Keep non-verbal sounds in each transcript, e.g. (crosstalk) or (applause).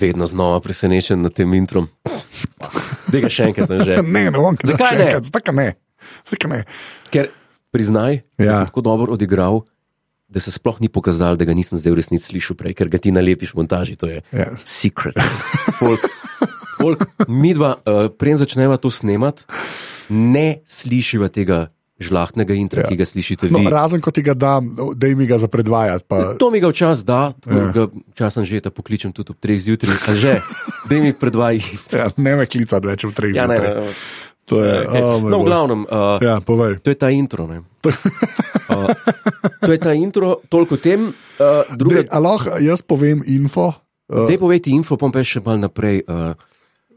vedno znova presenečen nad tem introm. Tega še enkrat ne želim. Ne, ne bom, Zakaj še ne? enkrat, Zakaj ne? Zakaj ne? Ker priznaj, ja. da Ja. sem tako dobro odigral, da se sploh ni pokazalo, da ga nisem zdaj v resnici slišal prej, ker ga ti nalepiš v montaži. To je Ja. secret. Folk, folk, mi dva, uh, preden začneva to snemati, ne slišiva tega žlahtnega intra, ja. Ja. ki ga slišite No, vi. razen ko ti ga dam, da jim ga za predvajati. (laughs) Pa, To mi ga včasih da, Ja. ja. časem že ta pokličem tudi ob 3 zjutraj, a že, da mi predvaji. ja, ne me klicati več v treh Ja, ne, zjutraj. ne, To je, ne. oh, moj No, v bog. glavnem, uh, Ja, povej. To je ta intro. ne. Uh, to je ta intro, toliko o tem. Uh, druga, Dej, a lahko jaz povem info? Uh, dej povej ti info, pa peš še malo naprej. Uh,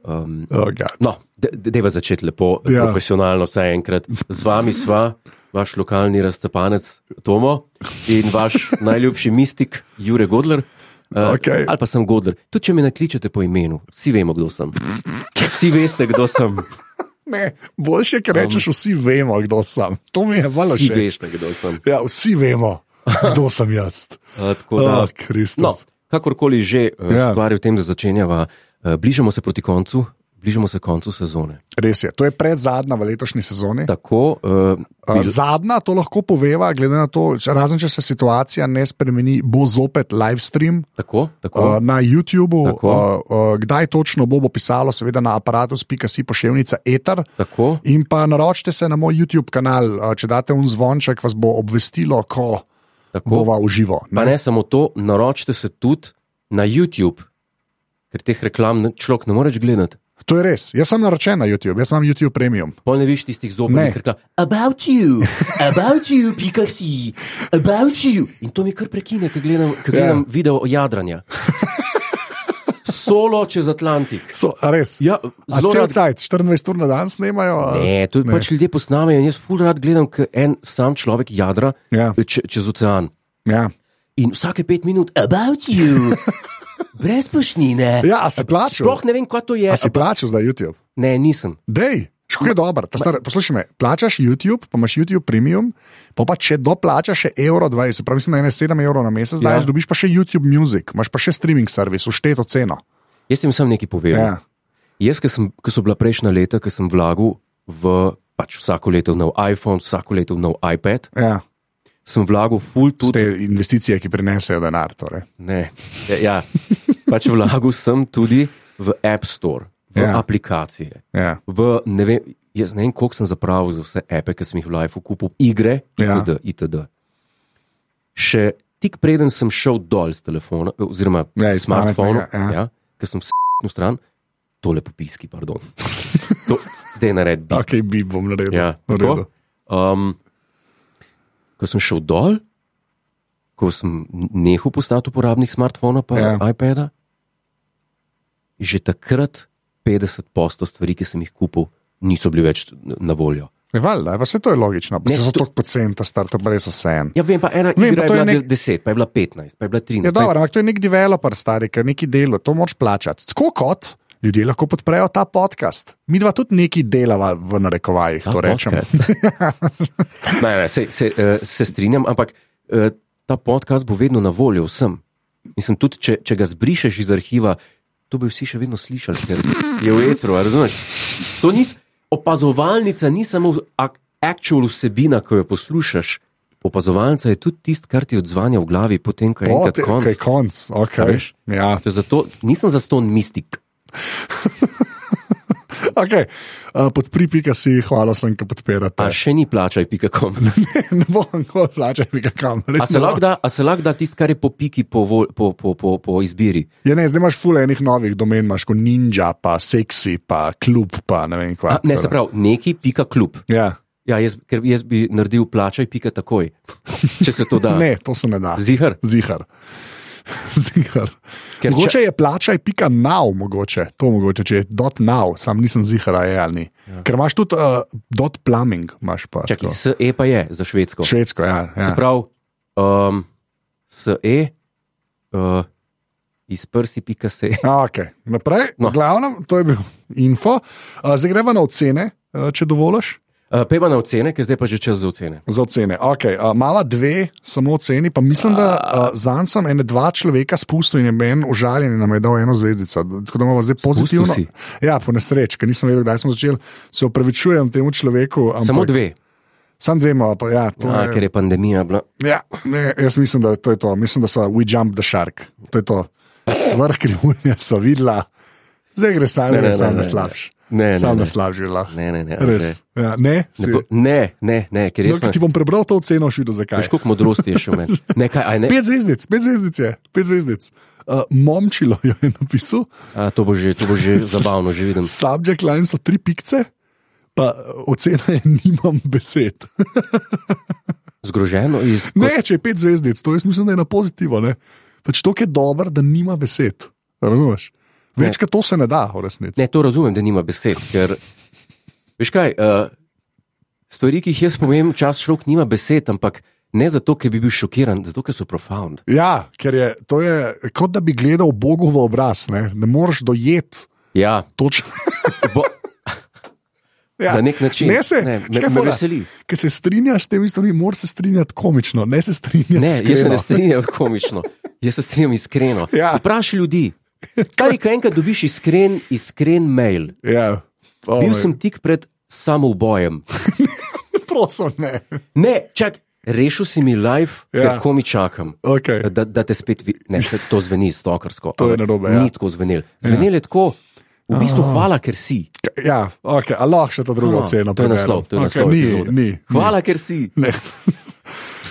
um, oh, God. no, de- de- deva začeti lepo, ja. Ja. profesionalno, vsaj enkrat. Z vami sva, vaš lokalni razcapanec Tomo in vaš najljubši mistik Jure Godler. Uh, Okej. Ali pa sem Godler. Tudi če me nakličete po imenu, vsi vemo, kdo sem. Vsi veste, kdo sem. ne, boljše, ker rečeš, vsi vemo, kdo sem. To mi je malo Vsi še. veste, kdo sem. Ja, vsi (laughs) vemo, kdo sem jaz. Uh, tako da, Oh, Kristus. No, kakorkoli že, ja. Ja. stvar je v tem, da začenjava. eh, Bližamo se proti koncu, bližamo se koncu sezone. Res je, to je predzadnja v letošnji sezoni. Tako, uh, Uh, Zadnja, to lahko poveva, glede na to, če- razen če se situacija ne spremeni, bo zopet live stream tako, tako. uh, Uh, na YouTubu. Uh, Tako. uh, kdaj točno bo, bo pisalo, seveda na aparatus.si pošiljka eter. tako. In pa naročite se na moj YouTube kanal, uh, če date un zvonček, vas bo obvestilo, ko tako. bova v živo. Pa ne samo to, naročite se tudi na YouTube, ker teh reklam ne- človek ne more več gledati. To je res. Jaz sem naročen na YouTube, jaz imam YouTube premium. Pol ne viš tistih zobnih Ne. reklam. About you, about you, pika si, about you. In to mi kar prekine, ker gledam, ker Ja. gledam yeah. video o jadranju. Solo čez Atlantik. So, a res. Ja, A zelo cel rad- cajt, 24 ur na dan snemajo. a- Ne, to je pač ljudje posnamejo. in Jaz ful rad gledam, ker en sam človek jadra e, Ja. če, čez ocean. Ja. In vsake pet minut, about (laughs) you, brez pošnine. ja, a si plačal? Sploh ne vem, kaj to je. A si plačal za YouTube? Ne, nisem. Dej, škoda je dobro. Ta Star, poslušaj me, plačaš YouTube, pa imaš YouTube premium, pa, pa če doplačaš še evro 20, se pravi, mislim, da je 7 evrov na mesec, Ja. ja. daš, dobiš pa še YouTube Music, imaš pa še streaming servis, ušteto ceno. Jaz sem sam nekaj povedal. Ja. Jaz, ki sem- ki so bila prejšnja leta, ki sem vlagal v pač vsako leto v nov iPhone, vsako leto v nov iPad, Ja. sem vlagal full To so tudi. te investicije, ki prinesejo denar. Torej. Ne, ja, pač vlagal sem tudi v App Store, v Ja. aplikacije. Ja. v ne vem, jaz ne vem, koliko sem zapravil za vse epe, ki sem jih v Life kupil, igre, Ja. itd. itd. Še tik preden sem šel dol z telefona, eh, oziroma Ja, s iz smartfonom, pametnega, ja. ja, ker sem vse stran, tole popiski, pardon. (laughs) To, da je naredil. Ok, bi bom naredil. Ja, V redu. tako. um, ko sem šel dol, ko sem nehal postati uporabnik smartfona in ja. Ja. iPada, že takrat 50% stvari, ki sem jih kupil, niso bile več na voljo. Ne, valjda, pa se to je logično, pa Ne, se za to- to pocen, ta star, to pa res vse en. Ja, vem, pa ena Vem, igra pa to je je bila nek- nek... 10, pa je bila 15, pa je bila 13. Ja, dobro, ampak to je nek developer, stari, ker neki delo, to moč plačati. Tako kot ljudje lahko podprejo ta podcast. Mi dva tudi neki delava v narekovajih, Ta to rečem. podcast. (laughs) ne, ne, se, se, eh, se strinjam, ampak eh, ta podcast bo vedno na voljo vsem. Mislim, tudi če, če ga zbrišeš iz arhiva, to bi vsi še vedno slišali, ker je v etru. a Razumeš? To ni s- opazovalnica, ni samo ak- actual vsebina, ko jo poslušaš. Opazovalnica je tudi tisto, kar ti odzvanja v glavi, potem ko je Po enkrat te- Kaj je konc. konc, ok. A veš? Ja. To je Zato nisem zaston mistik. okay. Uh, podpri, pika si, hvala sem, A ki podpirate. še ni plačaj, pika kom. ne bom nikoli plačal, pika kam. A Res se ne bom. lahko da, a se lahko da tisto, kar je po piki, po, vol, po, po, po, po izbiri. Ja, ne, zdaj imaš fule enih novih domen, imaš kot ninja, pa seksi, pa klub, pa ne vem kva. A, ne, tako se da. pravi, neki pika kljub. Ja. Ja, jaz, ker jaz bi naredil plačaj, pika takoj, (laughs) če se to da. Ne, to se ne da. Zihar, Zihar. (laughs) Zihar. Ker Ker če- mogoče če... je plačaj, pika now, mogoče. to mogoče, če je dot now, sam nisem zihar, a je ali ni. Ja. Ker imaš tudi uh, dot plumbing, imaš pa. čakaj, tako. SE E pa je za švedsko. Švedsko, ja. ja. Se pravi, um, SE, uh, iz prsi, pika se. (laughs) Okay. Naprej, No. (laughs) no. glavno, to je bil info. Uh, zdaj gremo na ocene, uh, če dovoliš. Uh, Pejva na ocene, ker zdaj pa že čas za ocene. Za ocene. Okay. Uh, mala dve, samo oceni, pa mislim, da uh, za en sem ene dva človeka spustil in je meni užaljen in nam je dal eno zvezdico. Tako da imamo zdaj pozitivno. si? Ja, po nesreč, ker nisem vedel, kdaj smo začeli. Se opravičujem temu človeku. Ampak, Samo dve, Sam dve, imava pa ja. To, A, je, ker je pandemija bila. ja ne, jaz mislim, da to je to. Mislim, da so we jump the shark. To je to. Vrh krivulja so videla. Zdaj gre sam, Ne, ne, ne, ne, sam ne, na ne. slabš. Ne, ne, Sam ne. na slabš je lahko. Ne, ne, ne. Res. Ja, ne, si, Ne, bo- ne, ne, ne, ker no, res ko ne. ti bom prebral to oceno, še videl zakaj. Veš, koliko modrosti je še v meni. Ne, kaj, aj ne. Pet zvezdic, pet zvezdic je, pet zvezdic. Uh, momčilo jo je napisal, A, to, bo že, to bo že zabavno, že vidim. subject line so tri pikce, pa eh, ocena je, nimam besed. Zgroženo iz. Ne, če je pet zvezdic, to jaz mislim, da je na pozitivo. Ne? Pač to je dobro, da nima besed. Razumeš? Ja. Več kot to se ne da, v resnici. Ne, to razumem, da nima besed, ker. Veš kaj, uh, stvari, ki jih jaz pomem, čas šlok nima besed, ampak ne zato, ker bi bil šokiran, zato, ker so profound. Ja, ker je to je, kot da bi gledal Bogu v obraz, ne, ne moreš dojeti Ja, točno. (laughs) bo, Ja. Na nek način. Ne, se, Ne, me- škaj me fora? veseli. Ker se strinjaš s temi stvarmi, moraš se strinjati komično, ne se strinjati. ne, jaz se iskreno. ne strinjam komično, jaz se strinjam iskreno. Ja. Vprašaj ljudi, kaj, ko enkrat dobiš iskren, iskren mail. Ja. Oh, Bil (laughs) sem tik pred samoubojem. prosil, ne. Ne, čak, rešil si mi live, Ja. ja. kako mi čakam. Okay. Da, da te spet vidi, ne, saj to zveni stokarsko. To je ampak narobe, ja. Ni tako zvenel. Zvenel je tako, v bistvu hvala, ker si. Ja, okay. ali lahko še ta druga A, ocena. No, to je preberem? naslov, to je Okej, naslov Ni, epizode. ni, ni. Hvala, ker si. Ne. (laughs)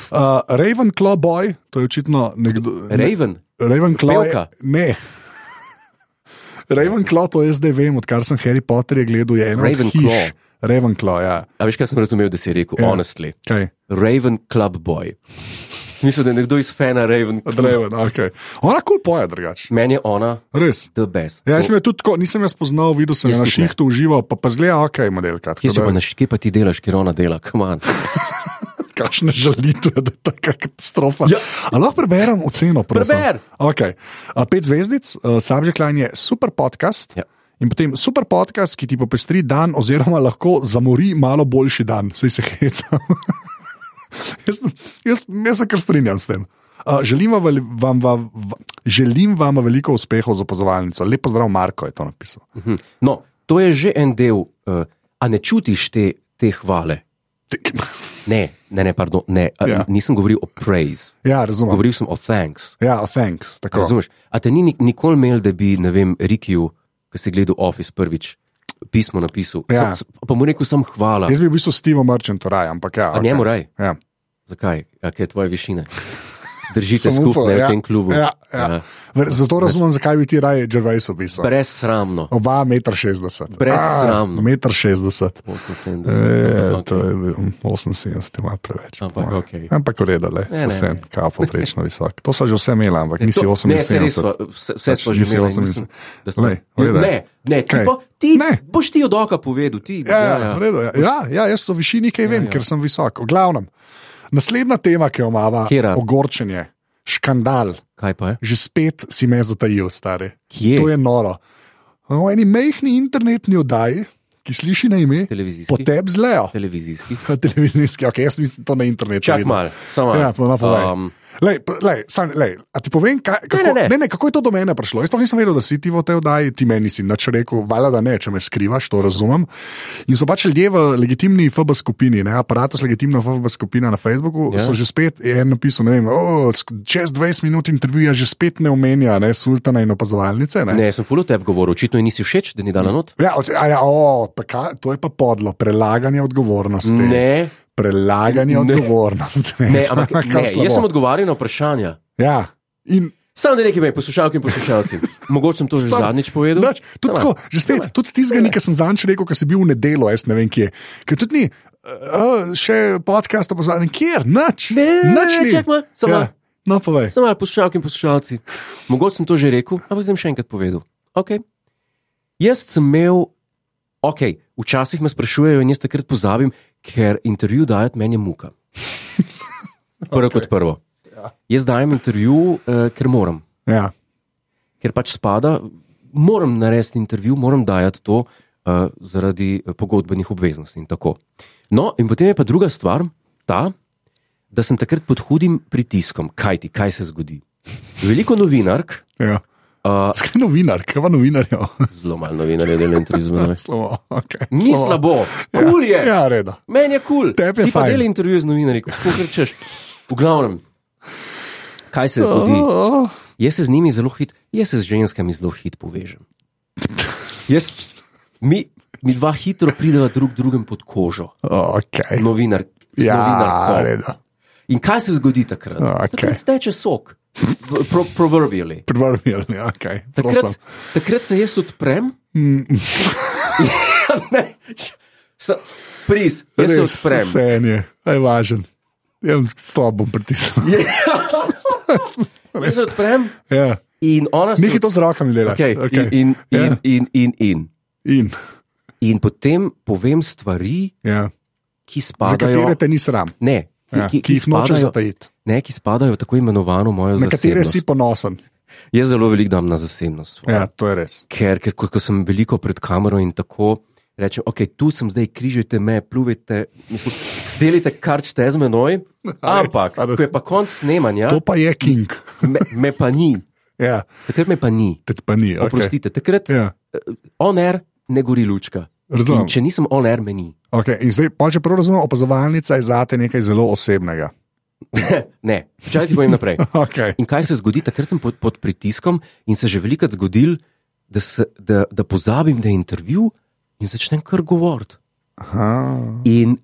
Uh, Raven Clawboy, to je očitno nekdo. Raven, Raven Pevka. Claw. Ne. (laughs) Raven Claw, to jaz zdaj vem, odkar sem Harry Potter gledal, je ena od Ravenclaw. hiš. Raven Claw, ja. a veš, kaj sem razumel, da si rekel, ja. Ja. honestly. Kaj? Raven Club Boy. Smisel, da je nekdo iz fena Raven. Od Raven, ok. Ona kul cool poje drugače, Meni je ona res. the best. Ja, jaz sem jo tudi tako, nisem jaz poznal, videl sem jo Jaz na tudi ne. šihtu užival, pa pa zgleda ok, modelka. tako Kje si da- pa naš, kje pa ti delaš, kjer ona dela, kaman. kakšne žalitve, da je tako katastrofa. Ja. Ja. Lahko preberem oceno, prosim. Preber. Okay. A, pet zvezdic, a, Subject Line je super podcast. Ja. In potem super podcast, ki ti popestri dan, oziroma lahko zamori malo boljši dan, sej se heca. (laughs) jaz, jaz, jaz se kar strinjam s tem. Uh, želim, vam, veli- vam, vam, želim vam veliko uspehov za pozovalnico. Lepo zdrav, Marko je to napisal. No, to je že en del, uh, a ne čutiš te, te hvale. Tik. Ne, ne, ne, pardon, ne, ja. Ja. nisem govoril o praise, Ja, razumem. govoril sem o thanks. Ja, thanks. tako. Razumeš? A te ni nik- nikoli imel, da bi, ne vem, Rikiju, ki si gledal Office prvič, pismo napisal. Ja. Sam, pa mu rekel sem hvala. Jaz bi bil v bistvu Steve Merchant, raj, ampak ja. A okej. njemu raj, Ja. zakaj? A kaj je tvoje (laughs) višine? Držite Sem upal, skupaj ja. ja. v tem klubu. Ja, ja. Ver- Zato razumem, zakaj bi ti raje Džervejs opisal. Brezsramno. Oba Ah, 1,60 m. Brezsramno. 1,60 78. m. E, To Okej. je bil, mm, 78, malo preveč. Ampak Ja. okej. Ampak uredale, Ne, ne, vse, kao poprečno visok. To so že vse imela, ampak nisi To- Ne, se res, 78. sva- vse, vse Pač smo že nisi imeli. osem in mislim, da smo- Glej, v redu je. Ne, ne, ti, Kaj? pa, ti ne. Ne. boš ti od oka povedal. Ti, Ja, ja, v redu je. ja, ja, jaz o višini kaj vem, ja. ker sem visok. V glavnem, naslednja tema, ki jo imamo, Katera? ogorčenje, škandal. Kaj pa je? Že spet si me zatajil, stari. Kje? To je noro. V eni mehki internetni oddaji, ki sliši na ime, Televizijski? potep zlejo. Televizijski. Televizijski, ok, jaz mislim, to na internetu. Čak vidim. malo, samo. Ja, pa no, povej. Um, Lej, pa- lej, sam, lej, a ti povem, kaj, kako, ne, ne. kako je to do mene prišlo? Jaz pa nisem vedel, da si ti v tej oddaji, ti meni si nič rekel, valjda da ne, če me skrivaš, to razumem. In so pač ljudje v legitimni FB skupini, ne, aparatus legitimna FB skupina na Facebooku, Ja. ja. so že spet, je en napisal, ne vem, "O, sk- čez 20 minut intervjuja že spet ne omenja, ne, sultana in opazovalnice. Ne. ne, sem full tep govoril, očitno ji nisi všeč, da ni dala not. Ja, od, a ja, o, pa ka, to je pa podlo, prelaganje odgovornosti. Ne, Ne. Prelaganje odgovornosti. (laughs) ne, ampak ne, Kar slabo. jaz sem odgovarjal na vprašanja. Ja. In Sam da nekaj me poslušalke in (laughs) poslušalci. Mogoče sem to že Stop. zadnjič povedal. Nač, tudi Sama. tako, že spet, tudi tistega, ni, kar sem zanj rekel, ker si bil v nedelo, jaz ne vem kje. Ker tudi ni, uh, še podcast opozoril, nikjer, nič. Ne, ne, nič ne, ni. čakaj malo, samo malo. No, povej. Samo malo poslušalke in poslušalci. Mogoče sem to že rekel, ampak zdaj bom še enkrat povedal. Okay. Jaz sem imel, ok, včasih me sprašujejo in jaz takrat pozabim, ker intervju dajati meni je muka. (laughs) Prvo okay. kot prvo. Ja. Jaz dajem intervju, eh, ker moram. Ja, ker pač spada, moram narediti intervju, moram dajati to uh, zaradi eh, pogodbenih eh, obveznosti in tako. No, in potem je pa druga stvar ta, da sem takrat pod hudim pritiskom. Kaj ti, kaj se zgodi? Veliko novinark, Ja. uh, Skaj novinar, ja. kaj pa novinarjev? zelo malo novinarjev, no. delovno intervjujejo. Slovo, okay. Ni slabo, kul je. Ja, reda. Meni je kul. Tebi je Ti pa fajn. deli intervjuje z novinarji, kako rečeš. V glavnem, kaj se zgodi? Oh, Jaz se z njimi zelo hit, jaz se z ženskami zelo hit povežem. Jaz, mi, mi dva hitro prideva drug drugem pod kožo, okay. oh. No, novinar. z Ja, novinarko. reda. In kaj se zgodi takrat? Okej. Takrat steče sok, V- pro, proverbially. Prvrmil, ja, okay. prosim. Mm. Takrat, takrat se jaz odprem. Ja, (laughs) ne, č- sa- Pris, jaz se odprem. Vse je, je važen. Jaz slabo bom pritisnil. Jaz se odprem Ja. in ona se. Nekaj to z rokami dela. Okay, Okej. okay. In, in, ja. in, in, in, in. in. in potem povem stvari, Ja. ki Za spadajo. katere te ni sram, Ne, ki, ja. ki, ki jih nočeš zatajiti, ne, ki spadajo v tako imenovano mojo na katere zasebnost. si ponosen. Jaz zelo veliko dam na zasebnost. svojo. Ja, to je res. ker, ker ko, ko sem veliko pred kamero in tako rečem, ok, tu sem zdaj, križite me, pluvite, mislim, delite kar čte z menoj. Ampak, a ne. ko je pa konc snemanja, To pa je king. me, me pa ni, Mm. Ja, takrat me pa ni. te pa ni. Okay. Oprostite, takrat eh, Ja. on air ne gori lučka. Razumem. In Če nisem on air, meni. Okay. In zdaj, pa če prav razumem, opazovalnica je zate nekaj zelo osebnega. (laughs) ne, počakaj ti povem naprej. Okay. In kaj se zgodi, takrat sem pod, pod pritiskom in se že velikrat zgodil, da, se, da, da pozabim, da je intervju in začnem kar govoriti. Aha. In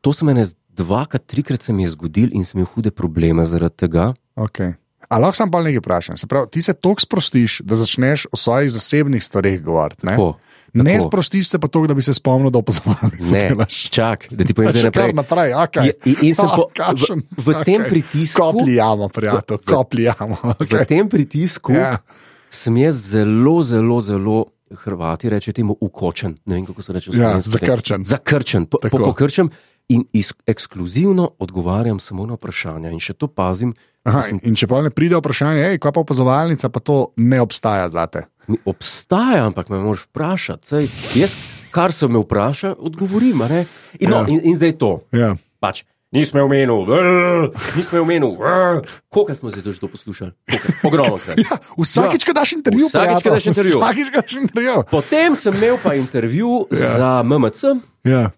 to se meni dvakrat, trikrat se mi je zgodil in sem imel hude probleme zaradi tega. Okay. A lahko sam pa nekaj vprašam. Se pravi, ti se toliko sprostiš, da začneš o svojih zasebnih stvareh govoriti. Ne? Tako, ne tako. sprostiš se pa toliko, da bi se spomnil, da opazovalnico (laughs) Ne, delaš. čak, da ti povem, Ja, da je Še kar naprej. naprej, okay. Je- in- in sem po- v- (laughs) kakšen, v tem pritisku- Kopli jamo, prijatelj, V- v- kopli jamo. V Okay. tem pritisku Ja. sem jaz zelo, zelo, zelo. Hrvati reče temu ukočen, ne vem kako se reče. v Ja, slovenskem. zakrčen. Zakrčen, po, po, Tako. pokrčen in iz, ekskluzivno odgovarjam samo na vprašanja. In še to pazim, Aha, in- in če pa ne pride vprašanje, hej, kaj pa opazovalnica, pa to ne obstaja za te. Mi obstaja, ampak me moraš vprašati. Sej, jaz, kar se me vpraša, odgovorim. a ne. In, no, Ja. in, in zdaj to. Ja. Pač, nisem omenil, brr, nisem omenil. brr. Kolikrat smo se to že to poslušali? Kolikrat? Ogromno. Krat. (laughs) Ja, vsakič, ko daš intervju, Vsakič, ko prijatelj, daš intervju. Vsakič, ko daš intervju. Potem sem imel pa intervju Ja. ja. za MMC Ja.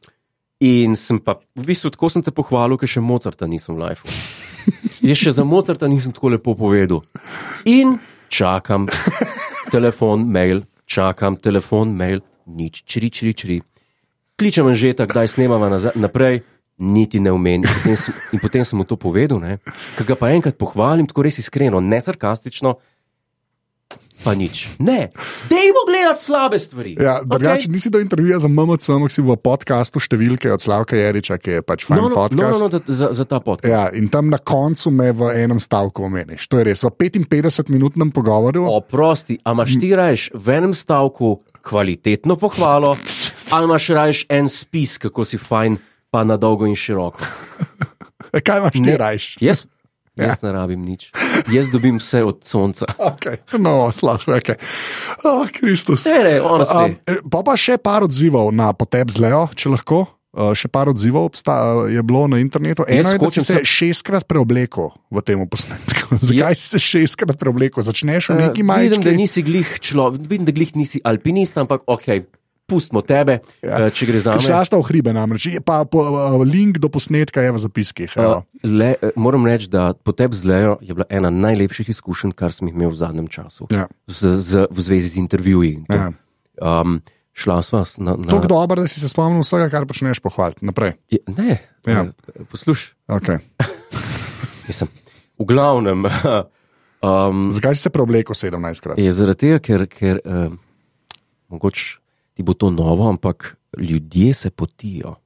in sem pa v bistvu tako sem te pohvalil, ker še Mozarta nisem live. Jaz še za Mozarta nisem tako lepo povedal. In čakam, telefon, mail, čakam, telefon, mail, nič, čri, čri, čri. Kličem že tako, kdaj snemava naza- naprej, niti ne omeni. In potem sem, in potem sem mu to povedal, ki ga pa enkrat pohvalim, tako res iskreno, ne sarkastično. Pa nič. Ne, dajmo gledati slabe stvari. Ja, Okej? drugače, okay. nisi do intervjuja za MMC, ampak si v podkastu številke od Slavka Jeriča, ki je pač fajn no, no, no, podcast. no, no, za, za, za ta podcast. Ja, in tam na koncu me v enem stavku omeniš. To je res. V 55-minutnem pogovoru. Oprosti, a imaš ti rajš v enem stavku kvalitetno pohvalo, ali imaš rajš en spis, kako si fajn, pa na dolgo in široko. E, Kaj imaš ti rajš? Jaz, jaz ja. ne rabim nič, jaz dobim vse od sonca. Okay. No, slabo, ok. Oh, Kristus. Ne, ne, E, honestly. Um, pa pa še par odzivov na potep zlejo, če lahko. Uh, še par odzivov obsta, je bilo na internetu. Jaz Eno je, da si skočim se šestkrat preoblekel v tem posnetku. (laughs) Zakaj si se šestkrat preoblekel? Začneš v Eh, neki Ja. Vidim, da majhni. nisi glih človek, vidim, da glih nisi alpinist, ampak ok, pustimo tebe, ja. če gre za me. Šla sta v hribe, namreč. Je Pa po, uh, link do posnetka je v zapiskih. Uh, Le, eh, moram reči, da potep zlejo je bila ena najlepših izkušenj, kar sem jih imel v zadnjem času. ja. z, z, v zvezi z intervjuji. in to. Ja. Um, šla sva s- na. Tako na dobro, da si se spomnil vsega, kar počneš, pohvaliti. Naprej. je, ne, Ja. ja. poslušaj, Okay. nisem. V glavnem, (laughs) um, Zakaj si se preoblekel 17krat? je zaradi tega, ker, ker um, mogoče ti bo to novo, ampak ljudje se potijo.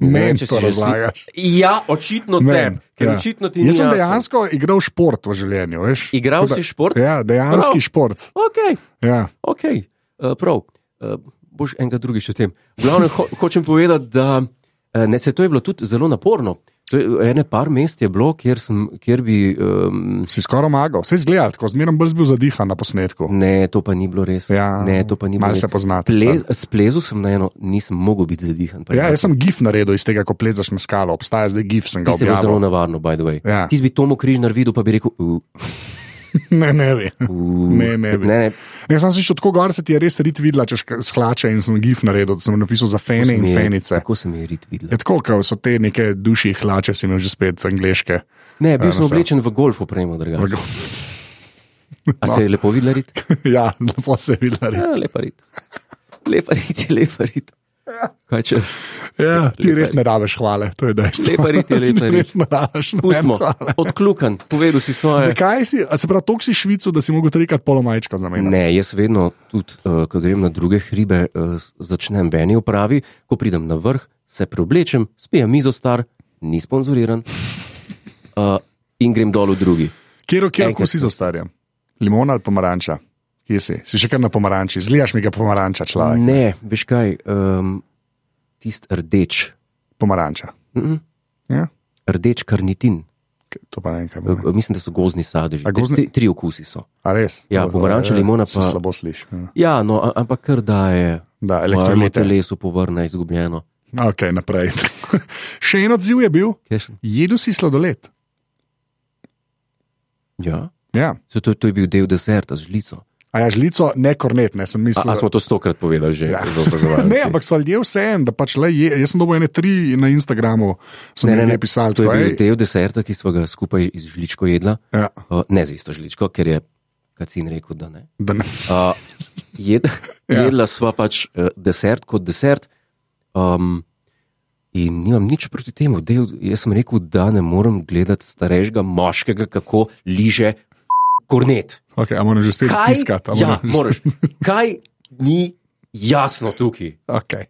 Ne vem, Meni če si to že sli- razlagaš. Ja, očitno Mem, te, ker ja. očitno ti ni. Jaz sem jasno. dejansko igral šport v življenju. Veš? Igral Tako da- si šport? Ja, dejanski Prav. šport. Okay. Ja. Ok, uh, prav. Uh, boš eh, enkrat drugič o tem. Glavno ho hočem povedati, da uh, ne, se to je bilo tudi zelo naporno. To je ene par mest je bilo, kjer, sem, kjer bi. Um, Si skoraj omagal, vse zgleda, tako zmeraj bolj bil zadihan na posnetku. ne, to pa ni bilo res. Ja, ne, to pa ni bilo malo res. se poznate. Plez, stari. splezu sem na eno, nisem mogel biti zadihan. Ja, jaz sem gif naredil iz tega, ko plezaš na skalo, obstaja zdaj gif, sem ga Ti si bil zelo objavil. nevarno, by the way. Ja. Ti bi Tomu Križnar videl, pa bi rekel, uh, Ne, ne, ve. uh, Ne, ne bi. ne, ne, Jaz sem si šel tako gor, se ti je res rit videla, češ shlače in sem gif naredil, sem napisal za fene in fenice. Tako sem jih rit videl. Je tako, kot so te neke duši hlače, sem imel že spet angliške. Ne, bil sem vse. oblečen v golfu, prejmo, drugače. A se je lepo videla (laughs) rit? (laughs) Ja, lepo se je videla. rit. Ja, lepa rit. Lepa rit je lepa rit. Kaj če? Ja, ti res ne rabiš hvale, to je dejstvo. Lepa rit (laughs) je lepa rit. Res ne rabiš. noben Pustimo, hvale. odklukan, povedal si svoje. Zakaj si, a se pravi, tok si švico, da si mogel trikrat polomajčka za mene? Ne, jaz vedno, tudi uh, ko grem na druge hribe, uh, začnem v eni upravi, ko pridem na vrh, se preoblečem, spijem mizo star, ni sponzoriran (laughs) uh, in grem dol v drugi. Kjer, kjer, Enkrat ko si zastarjam? Limona ali pomaranča? Kje si? Si še kar na pomaranči, zlijaš mi ga pomaranča, človek. Ne, veš kaj, um, tisti rdeč, Pomaranča. mm, Ja? rdeč karnitin. K- To pa ne vem, kaj bo. Uh, Mislim, da so gozni sadeži. A gozdni- Tri, tri okusi so. A res? Ja, Dobro, pomaranča, ja, limona se pa- Slabo slišiš. Ja. Ja, no, a- ampak kar da je. Da, Mojemu elektrolite. telesu povrne izgubljeno. Ok, naprej. (laughs) še en odziv je bil, Keš? jedel si sladoled. Ja, Ja. Saj to, to je bil del deserta z žlico. A ja, žlico, ne kornet, ne sem mislil. A, a smo to stokrat povedali že? Ja. v opazovalnici? (laughs) Ne, ampak so ljudje vseeno, da pač le je. Jaz sem dobil ene tri na Instagramu, sem jim napisal, To je bil je. del deserta, ki smo ga skupaj z žličko jedla. Ja, Uh, ne z isto žličko, ker je Kacin rekel, da ne. da ne. Uh, jed, (laughs) Ja. ja. Jedla sva pač uh, desert kot desert. Um, in nimam nič proti temu. Del, jaz sem rekel, da ne morem gledati starejšega moškega, kako liže kornet. Okay, a moram že spet Kaj, piskati. a ja, moram že moraš, kaj ni jasno tukaj? Okay,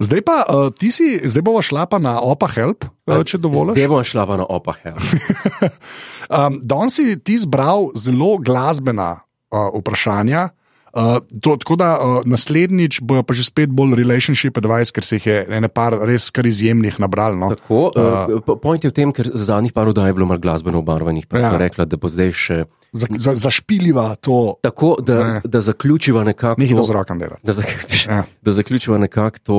zdaj pa uh, ti si, zdaj bova šla pa na opa help, uh, če dovoliš. Zdaj bom šla pa na opah. Ja. Um, Danes si ti zbral zelo glasbena uh, vprašanja. Uh, to, tako da uh, naslednjič bojo pa že spet bolj relationship advice, ker se jih je ene par res kar izjemnih nabral. No? Tako, uh, point je v tem, ker zadnjih par oddaj je bilo malo glasbeno obarvanih, pa ja. Ja. sem rekla, da bo zdaj še Za, za, zašpiliva to, tako, da, Ne. da zaključiva nekako. nekaj to to- z rokom dela. Da, zaključ, Ja. ja. da zaključiva nekako to.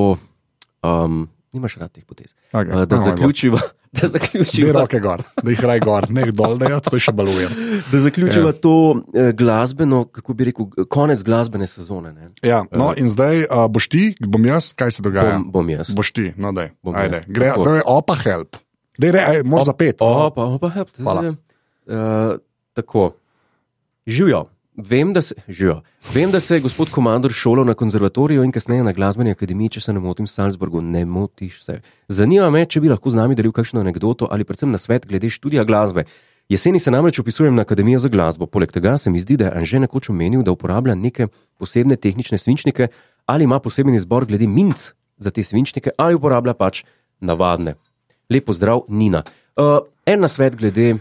Um, nimaš rad teh potez. Okay, Uh, da, zaključiva, da Te zaključiva, roke gor, da jih raj gor, ne dol, da je to je še balujem. da zaključiva ja. to eh, glasbeno, kako bi rekel, konec glasbene sezone. Ne? Ja, no, in zdaj uh, boš ti, bom jaz, kaj se dogaja. Bom, bom jaz. Ja. Boš ti, no, daj. Bom Ajde, jaz. gre, Tako. zdaj je opa help. Dej, re, aj, moraš zapet. Opa, opa, hep, Hvala. uh, tako. Živijo. Vem da, se, živijo. Vem, da se je gospod komandor šolal na konzervatoriju in kasneje na glasbeni akademiji, če se ne motim, v Salzburgu. Ne motiš se. Zanima me, če bi lahko z nami delil kakšno anegdoto ali predvsem na svet glede študija glasbe. Jeseni se namreč upisujem na Akademijo za glasbo. Poleg tega se mi zdi, da je Anže nekoč omenil, da uporablja neke posebne tehnične svinčnike ali ima poseben izbor glede minc za te svinčnike ali uporablja pač navadne. Lepo zdrav, Nina. Uh, en nasvet glede,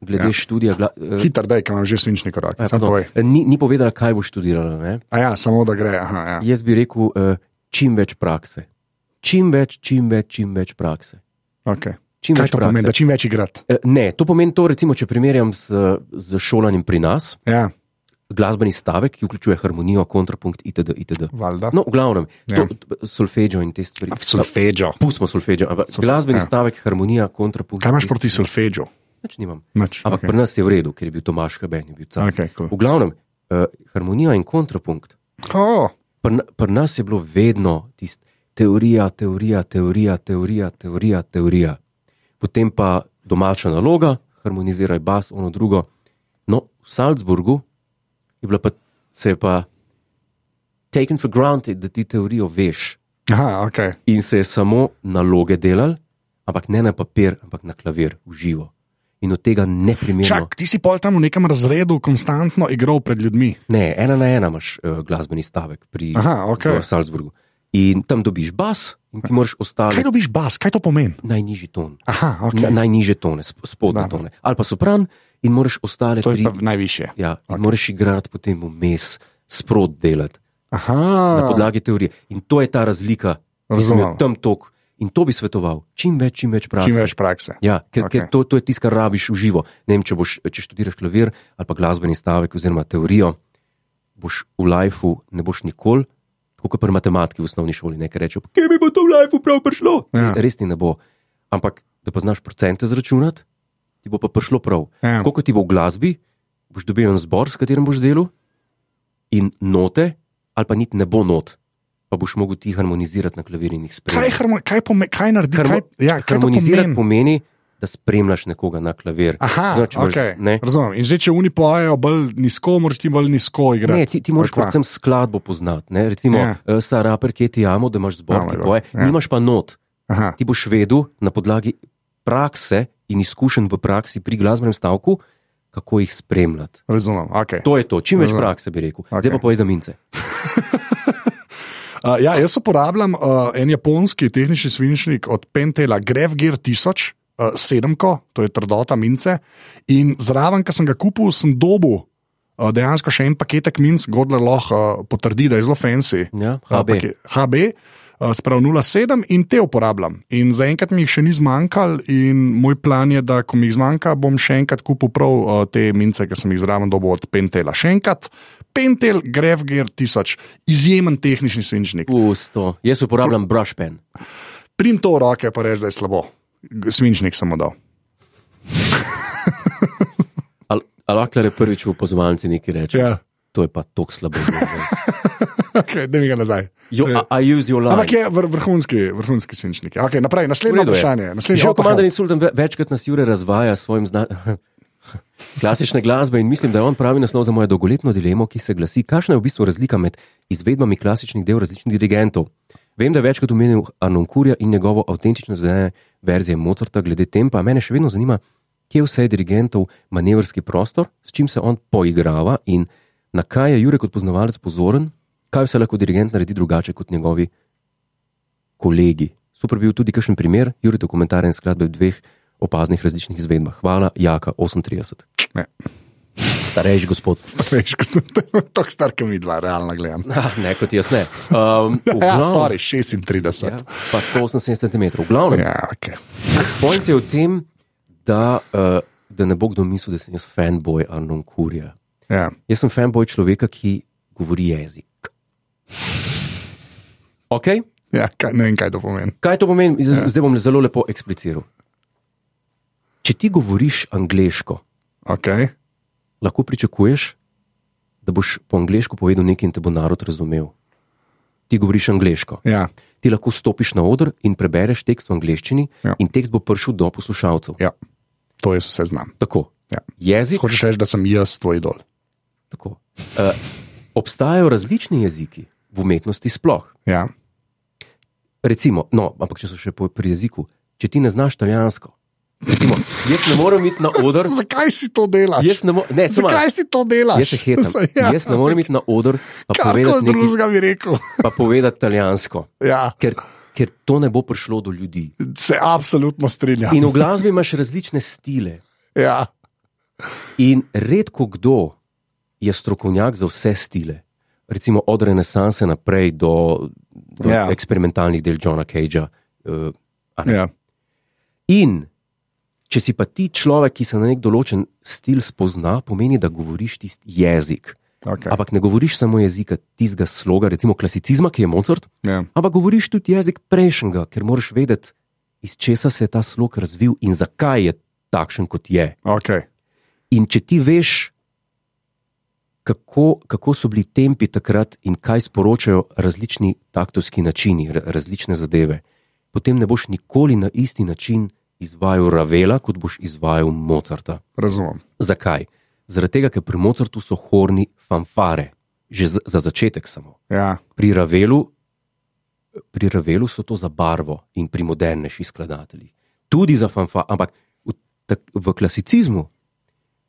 glede ja. študija. Gla, uh, Hiter, daj, ker imam že svinčni korak. Eh, Sam pardon. povej. Ni, ni povedala, kaj bo študirala. Ne? A ja, samo da gre. Aha, ja. Jaz bi rekel, eh, čim več prakse. Čim več, čim več, čim več prakse. okay. Čim Kaj več to prakse. pomeni, da čim več igrati? Eh, Ne, to pomeni to, recimo, če primerjam z, z šolanjem pri nas, Ja, glasbeni stavek, ki vključuje harmonijo, kontrapunkt, itd. itd. valjda. No, v glavnem, Ja. ja. to, solfeggio in te stvari. Solfeđo. Pustimo solfeggio, ampak glasbeni ja. ja. stavek, harmonija, kontrapunkt. Kaj imaš te proti stvari. solfeđu? Nič nimam. Nič. Ampak okay. pri nas je v redu, ker je bil Tomaš Haben, je bil car. Okay, cool. V glavnem, uh, harmonija in kontrapunkt. oh, Pri na- pri nas je bilo vedno tisto teorija, teorija, teorija, teorija, teorija, teorija. Potem pa domača naloga, harmoniziraj bas, ono drugo. No, v Salzburgu je bila pa, se je pa taken for granted, da ti teorijo veš. aha, okay. In se je samo naloge delal, ampak ne na papir, ampak na klavir, v živo. In od tega ne primerno. Čak, ti si pol tam v nekem razredu konstantno igral pred ljudmi. Ne, ena na ena imaš uh, glasbeni stavek pri Aha, v okej. Salzburgu. In tam dobiš bas, in ti moraš Kaj ostati dobiš bas, kaj to pomeni? najnižji ton, Aha, okay. okay. najnižje tone, sp- spodnje Dobro. tone, ali pa sopran, in moraš ostale to tri. je pa najviše. Ja, okay. Moraš igrati potem vmes, sprot delati Aha, na podlagi teorije. In to je ta razlika, ki sem jo Ja. razumem. tam tok. In to bi svetoval, čim več, čim več prakse. Čim več prakse. Ja, ker, okay. ker Okej. to, to je tisto, kar rabiš v živo. Ne vem, če, boš, če študiraš klavir ali pa glasbeni stavek oziroma teorijo, boš v lifeu ne boš nikoli, tako kot pri matematiki v osnovni šoli, nekaj reče, kje mi bo to v lifeu prav prišlo. Ja. Ja. Res ti ne bo. Ampak, da pa znaš procente zračunati, ti bo pa prišlo prav. Ja. Tako kot ti bo v glasbi, boš dobil en zbor, s katerim boš delal, in note, ali pa niti ne bo not, pa boš mogel ti harmonizirati na klavirju in jih Kaj, spremljati. harmo, kaj, pome, kaj naredi? Harmo- Kaj, ja, kaj to Harmonizirati pomeni? pomeni, da spremljaš nekoga na klavir. Aha, Zdaj, če boš- okay. ne. razumem. In zdaj, če oni pojejo bolj nizko, moraš ti bolj nizko igrati. Ne, ti, ti moraš Ali kva? predvsem skladbo poznati. ne. Recimo, Ja. yeah. uh, Saraper, kje ti jamo, da imaš zbor, Oh my ki God, poje, ja. yeah. nimaš pa not. Aha, Ti boš vedel na podlagi prakse in izkušenj v praksi pri glasbenem stavku, kako jih spremljati. razumem. Okay. To je to, čim več Razumem. prakse bi rekel. Okay. Okej. Zdaj pa poje za mince. Uh, ja, jaz uporabljam uh, en japonski tehnični svinčnik od Pentela, Grevgear 1000, uh, sedemko, to je trdota mince. In zraven, ki sem ga kupil, sem dobil uh, dejansko še en paketek minc, Godler lahko uh, potrdi, da je zelo fancy. Ja, Uh, HB. pake- HB uh, Sprav 0,7 in te uporabljam. In zaenkrat mi jih še ni zmanjkalo, in moj plan je, da ko mi jih zmanjka, bom še enkrat kupil prav uh, te mince, ki sem jih zraven dobil od Pentela. Še enkrat, Pentel Grevgear 1000, izjemen tehnični svinčnik. Pusto. Jaz uporabljam brush pen. Prim to v roke, pa reče, da je slabo. G- Svinčnik sem mu dal. Al- Ali lahko le prvič v opozovalnici nekaj reče? (laughs) Ja, To je pa tok (laughs) slabo. okay, da mi ga nazaj. Jo, To je- I, I used your line. Ampak je vr vrhunski, vrhunski svinčnik. Okay, V naprej, naslednje redu je. vprašanje. Naslednje Že o, pa komandar ho- Insultan ve- večkrat nas Jure razvaja s svojim znanjem (laughs) klasične glasbe in mislim, da je on pravi naslov za mojo dolgoletno dilemo, ki se glasi, kakšna je v bistvu razlika med izvedbami klasičnih del različnih dirigentov. Vem, da je večkrat omenil Anonkurja in njegovo avtentično izvedene verzije Mozarta glede tempa, a mene še vedno zanima, kje vse je dirigentov manevrski prostor, s čim se on poigrava in na kaj je Jure kot poznavalec pozoren, kaj vse lahko dirigent naredi drugače kot njegovi kolegi. Super bil tudi kakšen primer, Juri, dokumentaren skladbe v dveh opaznih različnih izvedbah. Hvala, Jaka 38. Ne. Starejši gospod. (laughs) Veš, ko sem tako star, kot mi dva, realno gledam. Ah, (laughs) ne kot jaz ne. Um, v (laughs) Ja, glavnem- sorry, 36. Ja, pa 180 cm. V glavnem, ja. Ja, okay. point je v tem, da, uh, da ne bo kdo mislil, da sem jaz fanboy Arnon Kurja. ja. Jaz sem fanboy človeka, ki govori jezik. Okay? ja kaj, ne vem, kaj to pomeni. Kaj to pomeni? Ja. Z- Zdaj bom zelo lepo ekspliciral. Če ti govoriš angliško, Okay. lahko pričakuješ, da boš po angliško povedal nekaj in te bo narod razumel. Ti govoriš angliško. Ja. Ti lahko stopiš na oder in prebereš tekst v angliščini, Ja. ja. in tekst bo prišel do poslušalcev. ja, to jaz vse znam. Tako. Ja. Jezik. Hočeš reči, da sem jaz tvoj idol. Tako. Uh, obstajajo različni jeziki v umetnosti sploh. Ja. Recimo, no, ampak če so še po- pri jeziku, če ti ne znaš italijansko. Recimo, jaz ne morem iti na oder, Zakaj si to delaš? Torej- jaz ne, mo ne, samo malo, Pač. Zakaj si to delaš? jaz se hecam. (laughs) Ja. Jaz ne morem iti na oder, pa Karkoli povedati, nekaj, drugega bi rekel. pa povedati italijansko. Ja. ker, ker to ne bo prišlo do ljudi. Se absolutno strinjam. In v glasbi imaš različne stile, Ja. in redko kdo je strokovnjak za vse stile. Recimo od renesanse naprej do, do Ja. yeah. eksperimentalnih del Johna Cagea. Uh, Ja. in če si pa ti človek, ki se na nek določen stil spozna, pomeni, da govoriš tisti jezik. Okay. Ampak ne govoriš samo jezika tistega sloga, recimo klasicizma, ki je Mozart, ja. ampak govoriš tudi jezik prejšnjega, ker moraš vedeti, iz česa se je ta slog razvil in zakaj je takšen, kot je. Okay. In če ti veš, kako, kako so bili tempi takrat in kaj sporočajo različni taktovski načini, ra- različne zadeve, potem ne boš nikoli na isti način izvajal Ravela, kot boš izvajal Mozarta. Razumem. Zakaj? Zaradi tega, ker pri Mozartu so horni fanfare, že z- za začetek samo Ja. pri Ravelu, pri Ravelu so to za barvo in pri modernejših skladateljih. Tudi za fanfa, ampak v, tak, v klasicizmu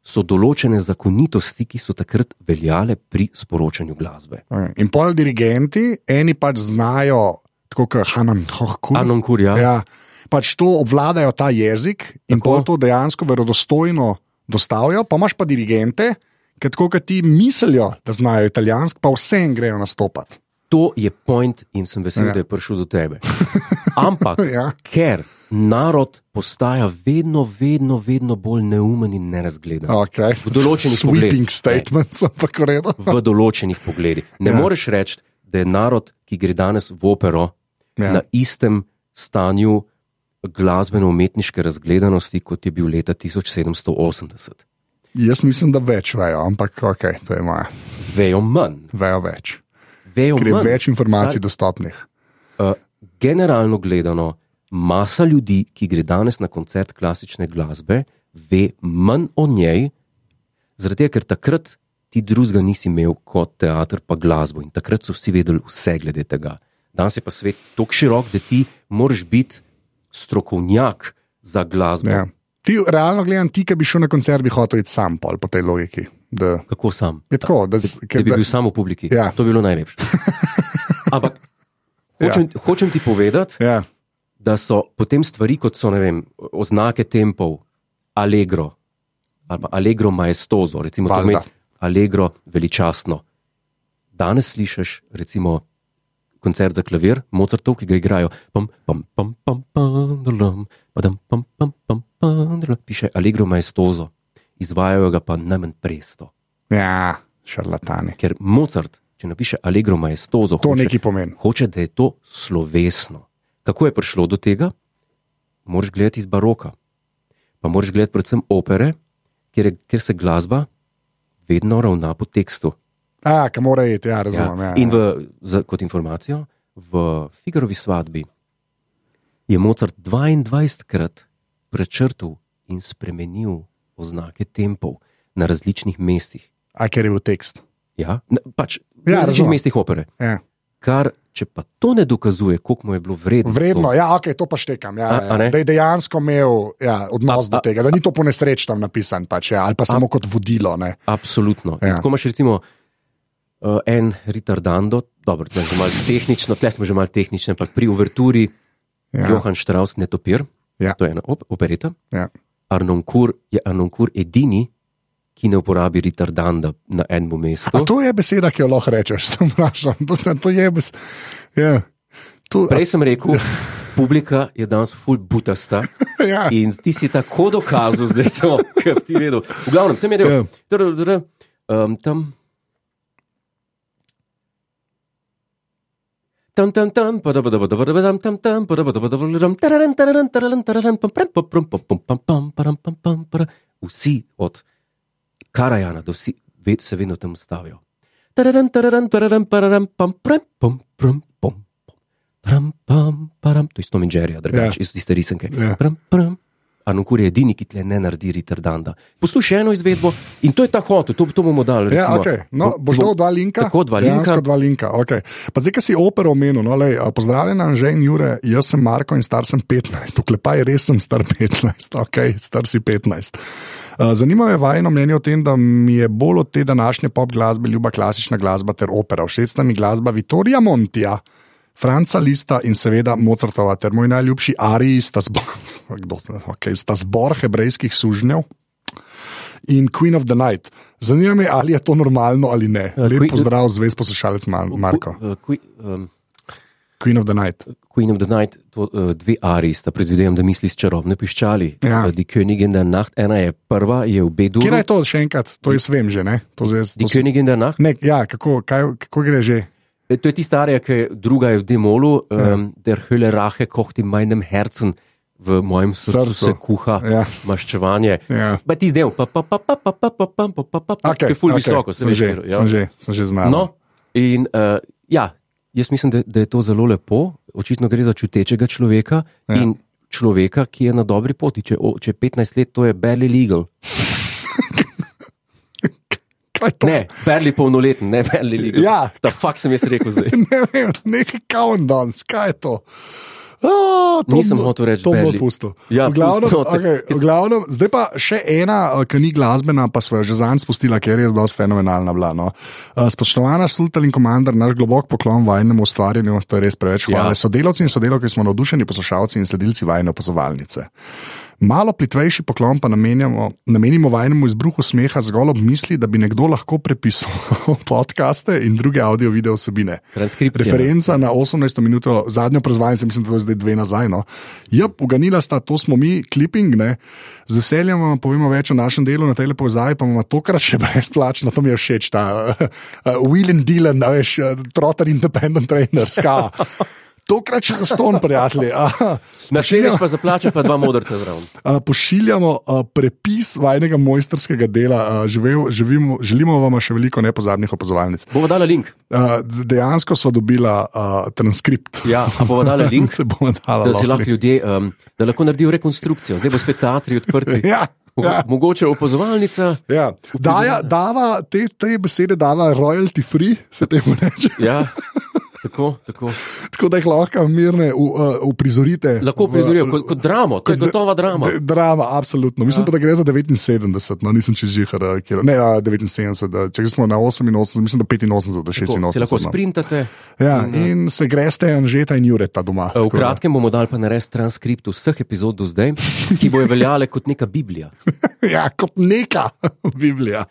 so določene zakonitosti, ki so takrat veljale pri sporočanju glasbe. Okay. In pol dirigenti, eni pač znajo, tako kot Hanan Hohku. Anon Kurja, ja. Ja, pač to obvladajo ta jezik in Tako. pol to dejansko verodostojno dostavijo, pa imaš pa dirigente, ki tako kot ti mislijo, da znajo italijansko, pa vsem grejo nastopati. to je point in sem vesel, Ja. ja. da je prišel do (laughs) tebe. Ampak, Ja. ja. ker narod postaja vedno, vedno, vedno bolj neumen in nerazgledan. Okay. V določenih Sweeping pogledih. statements, ampak v redu. v določenih pogledih. Ne Ja. ja. moreš reči, da je narod, ki gre danes v opero, ja. Ja. na istem stanju glasbeno-umetniške razgledanosti, kot je bil leta 1780. Jaz mislim, da več vejo, ampak ok, to je moje. Vejo manj, Vejo več. vejo Ker je manj. več informacij dostopnih. Uh, generalno gledano, masa ljudi, ki gre danes na koncert klasične glasbe, ve manj o njej, zaradi tega, ker takrat ti drugega nisi imel kot teater, pa glasbo. In takrat so vsi vedeli vse glede tega. Danes je pa svet tako širok, da ti moraš biti strokovnjak za glasbo. Ja. Ja. Ti, realno gledam, ti, ki bi šel na koncert, bi hotel iti sam pol po tej logiki. Da, Kako sam? je tako, da, s- Da Ja, ker bi da, bil sam v publiki. Ja. To bi bilo (laughs) najlepše. Ampak hočem, ja. hočem ti povedati, ja, da so potem stvari, kot so ne vem, oznake tempov, allegro ali pa allegro maestoso, recimo to Valjda. pomeni allegro veličastno. Danes slišiš, recimo, koncert za klavir, Mozartov, ki ga igrajo, pam, pam, pam, pam, pam, drlam, padam, pam, pam, pam, pam, drlam, piše allegro maestoso, izvajajo ga pa najmanj presto, ja, šarlatani. ker Mozart, če napiše allegro maestoso, To hoče- nekaj pomeni. hoče, da je to slovesno. Kako je prišlo do tega? Moraš gledati iz baroka, pa moraš gledati predvsem opere, ker, je, ker se glasba vedno ravna po tekstu. A, kam mora iti, ja, razumem. Ja. In v, za, kot informacijo, v Figarovi svatbi je Mozart 22krat prečrtal in spremenil oznake tempov na različnih mestih. A, ker je bil tekst. Ja, na, pač, Ja, na različnih razumem. mestih opere. Ja. Kar, če pa to ne dokazuje, koliko mu je bilo vredno. to- Vredno, ja, ok, to pa štekam. Ja, A- a, a a ne? da je dejansko imel ja, odnos a, A- do a- tega, da ni to po nesreči tam napisan, pač, ja, ali pa samo a, kot vodilo. Ne. Absolutno. Ja. Ja. Tako imaš recimo uh, en retardando, dobro, to je že malo tehnično, tle smo že malo tehnični, ampak pri uverturi ja. Ja. Johan Strauss ne topir, Ja. to je ena op opereta. Ja. Arnonkur je Arnonkur edini, ki ne uporabi retardanda na enem A mestu. to je beseda, ki jo lahko rečeš, (laughs) sem vprašal. To, to je bes... ja. to, Prej sem rekel, publika je danes full butasta (laughs) ja. in ti si tako dokazal, zdaj samo, (laughs) ker ti vedel. V glavnem, tam je Ja. del, drr, drr, um, tam. Tam, tam, tam, pa da, pa da, pa da, pa da, tam, tam, tam, pa da, pa da, pa da, tam, tararan, tararan, tararan, tararan, pam, pam, pam, pam, pam, pam, pam, param, pam, pam, para. Vsi od Karajana do vsi ved, se vedno tam stavijo. Tararan, tararan, tararan, pararam, pam, pam, pam, pam, pam, pam, pam, param. To je Tom in Jerry, drugače, iz tiste risanke. Ja. Pram, pram. Arnokur je edini, ki tle ne naredi retardanda. Poslušaj eno izvedbo in to je ta hotel, to, to bomo dali. Ja, recimo. okay. no, Bo- boš bo- dal dva linka? Tako dva Dejansko linka. Dva linka okay. Pa Zdaj, ki si opero omenil, no, lej, a, pozdravljen, Anže in Jure, jaz sem Marko in star sem 15, uklepaj, res sem star (laughs) 15, ok, star si 15. A, Zanima me vajno mnenje o tem, da mi je bolj od te današnje pop glasbe ljuba klasična glasba ter opera. Všeč sta mi glasba Vittorija Montija, Franca Lista in seveda Mozartova, ter moj najljubši Ariji sta zbor, (laughs) kdo, okay, sta zbor hebrejskih sužnjev in Queen of the Night. Zanima me, ali je to normalno ali ne. Eh, Lep Queen- pozdrav, zvez poslušalec Ma- Marko. Ku- eh, kui- em, Queen of the Night. Queen of the Night, to, eh, dve ariji sta, predvidevam, da misli s čarobne piščali. Ja. Eh, Die Königin der Nacht, ena je prva, je v Bedu. Kje je to še enkrat? To jaz vem že, ne? To zdaj, Die to, s- Königin der Nacht, ne ja, kako, kaj, kako gre že? Eh, to je tista arija, ki je druga je v Demolu, Ja. um, der Hölle Rache kocht in meinem Herzen, v mojem srcu Srcu. se kuha Ja. maščevanje. Ja. Pa ti zdaj, pa pa pa pa pa pa pa pa pa pa pa pa, Okay, ki je ful visoko, se sem veš, že, Miro, ja. sem že, sem že znal. No, in uh, ja, jaz mislim, da, da je to zelo lepo. Očitno gre za čutečega človeka ja. in človeka, ki je na dobri poti. Če, o, če je 15 let, to je barely legal. Kaj je to? Ne, barely polnoleten, ne barely legal. Ja. Ta fakt sem jaz rekel zdaj. (laughs) ne vem, nekaj kaun danes, kaj je to. A, to Nisem bom- hotel reči To bom Berli. odpustil. Ja, v glavnem, pusti, no, se- okay, v glavnem, zdaj pa še ena, eh, ki ni glasbena, pa smo jo že zanj spustila, ker je res dosti fenomenalna bila. No. Eh, Spoštovana Sultan in komandar, naš globok poklon vajnemu ustvarjanju, to je res preveč. Ja. Hvala sodelavci in sodelavke smo navdušeni poslušalci in sledilci vajne opazovalnice. Malo plitvejši poklon pa namenjamo, namenimo vajnemu izbruhu smeha zgolj ob misli, da bi nekdo lahko prepisal (laughs) podkaste in druge avdio-video vsebine. Transkripcija. Referenca na 18 minuto, zadnjo prezvajanje, mislim, da je zdaj dve nazaj. No. Ja, uganila sta, to smo mi, klipping, ne. Z veseljem vam povemo več o našem delu na tej povezavi, pa imamo tokrat še (laughs) brezplačno, to mi je všeč, ta (laughs) uh, uh, Will and Dylan, a veš, uh, Trotter Independent (laughs) Trainer, ska. Tokrat še za ston, prijatelji. Aha. Ja. Naslednjič pa zaplača pa dva modrca zraven. A, pošiljamo a, prepis vajnega mojstrskega dela, a, živel, živimo, želimo vam še veliko nepozabnih opazovalnic. Bomo dali link. A, dejansko smo dobila a, transkript. Ja, a bomo dali link, se bomo dala. da si lahko lahko. ljudje, um, da lahko naredijo rekonstrukcijo. Zdaj bo spet teatri odprti. Ja, Mogo- ja. Mogoče opazovalnica. Ja. Daja, dava, te, te besede dava royalty free, se temu reče. (laughs) Ja, tako, tako. Tako da jih lahko mirne u- a, uprizorite. Lahko v- prizorijo kot, kot dramo, to je gotova drama. D- Drama, absolutno. Mislim, ja. da gre za 79, no, nisem čez žihar, kjer, ne, a, 79, da, če smo na 88, mislim, da 85, da Tako, Si lahko 86. no. sprintate. Ja, in se greste Anžeta in Jureta doma. Eh, V Tako da. kratkem bomo dali pa nares transkript vseh epizod do zdaj, ki bojo veljale kot neka Biblija. (laughs) Ja, kot neka (laughs) Biblija.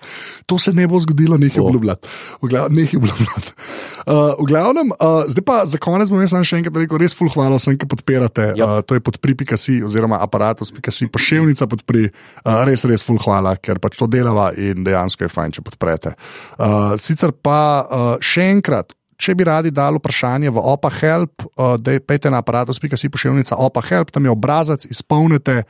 To se ne bo zgodilo, nekaj Bo. obljubljati. V glav- Nekaj obljubljati. Uh, v glavnem, uh, zdaj pa za konec bom jaz samo še enkrat rekel, res ful hvala vsem, ki podpirate. Ja. Uh, to je podpri.si oziroma aparatus.si, pošiljka podpri. Uh, res, res ful hvala, ker pač to delava in dejansko je fajn, če podprete. Uh, sicer pa uh, še enkrat. Če bi radi dali vprašanje v opa help, uh, da pejte na aparatus.si pošiljka opa help, tam je obrazac, izpolnite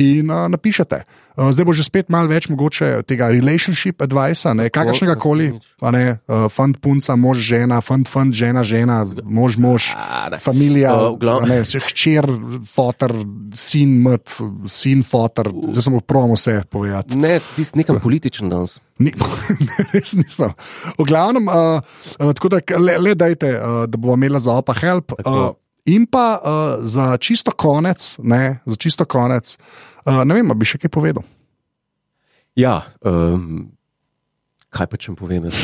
in uh, napišete. Uh, zdaj bo že spet malo več mogoče tega relationship advice, kakršnega koli, uh, fant punca, mož žena, fant fant žena, žena, mož mož, A, ne. familija, Uh, v glav- a ne, še hčer, fotor, sin mrt, sin fotor, zdaj samo promo vse povedati. Ne, tisti nekam političen danes. Ni, (laughs) res nisem. V glavnem, uh, uh, tako da k- le, le dajte, uh, da bo imela za opa help. Uh, Tako. in pa uh, za čisto konec, ne, za čisto konec, uh, ne vem, a bi še kaj povedal. Ja, um, kaj pa če jim povem? jaz?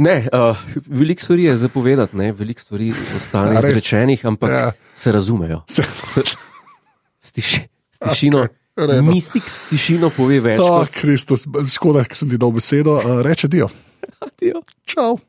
Ne, uh, veliko stvari je zapovedati, ne, veliko stvari ostane A res? izrečenih, ampak Ja. ja. se (laughs) razumejo. Se, S, tiš, s tišino, v okay, redu. mistik s tišino pove več oh, kot Kristus, škoda, ker sem ti dal besedo, uh, reče dio. ti. Eh, Čau.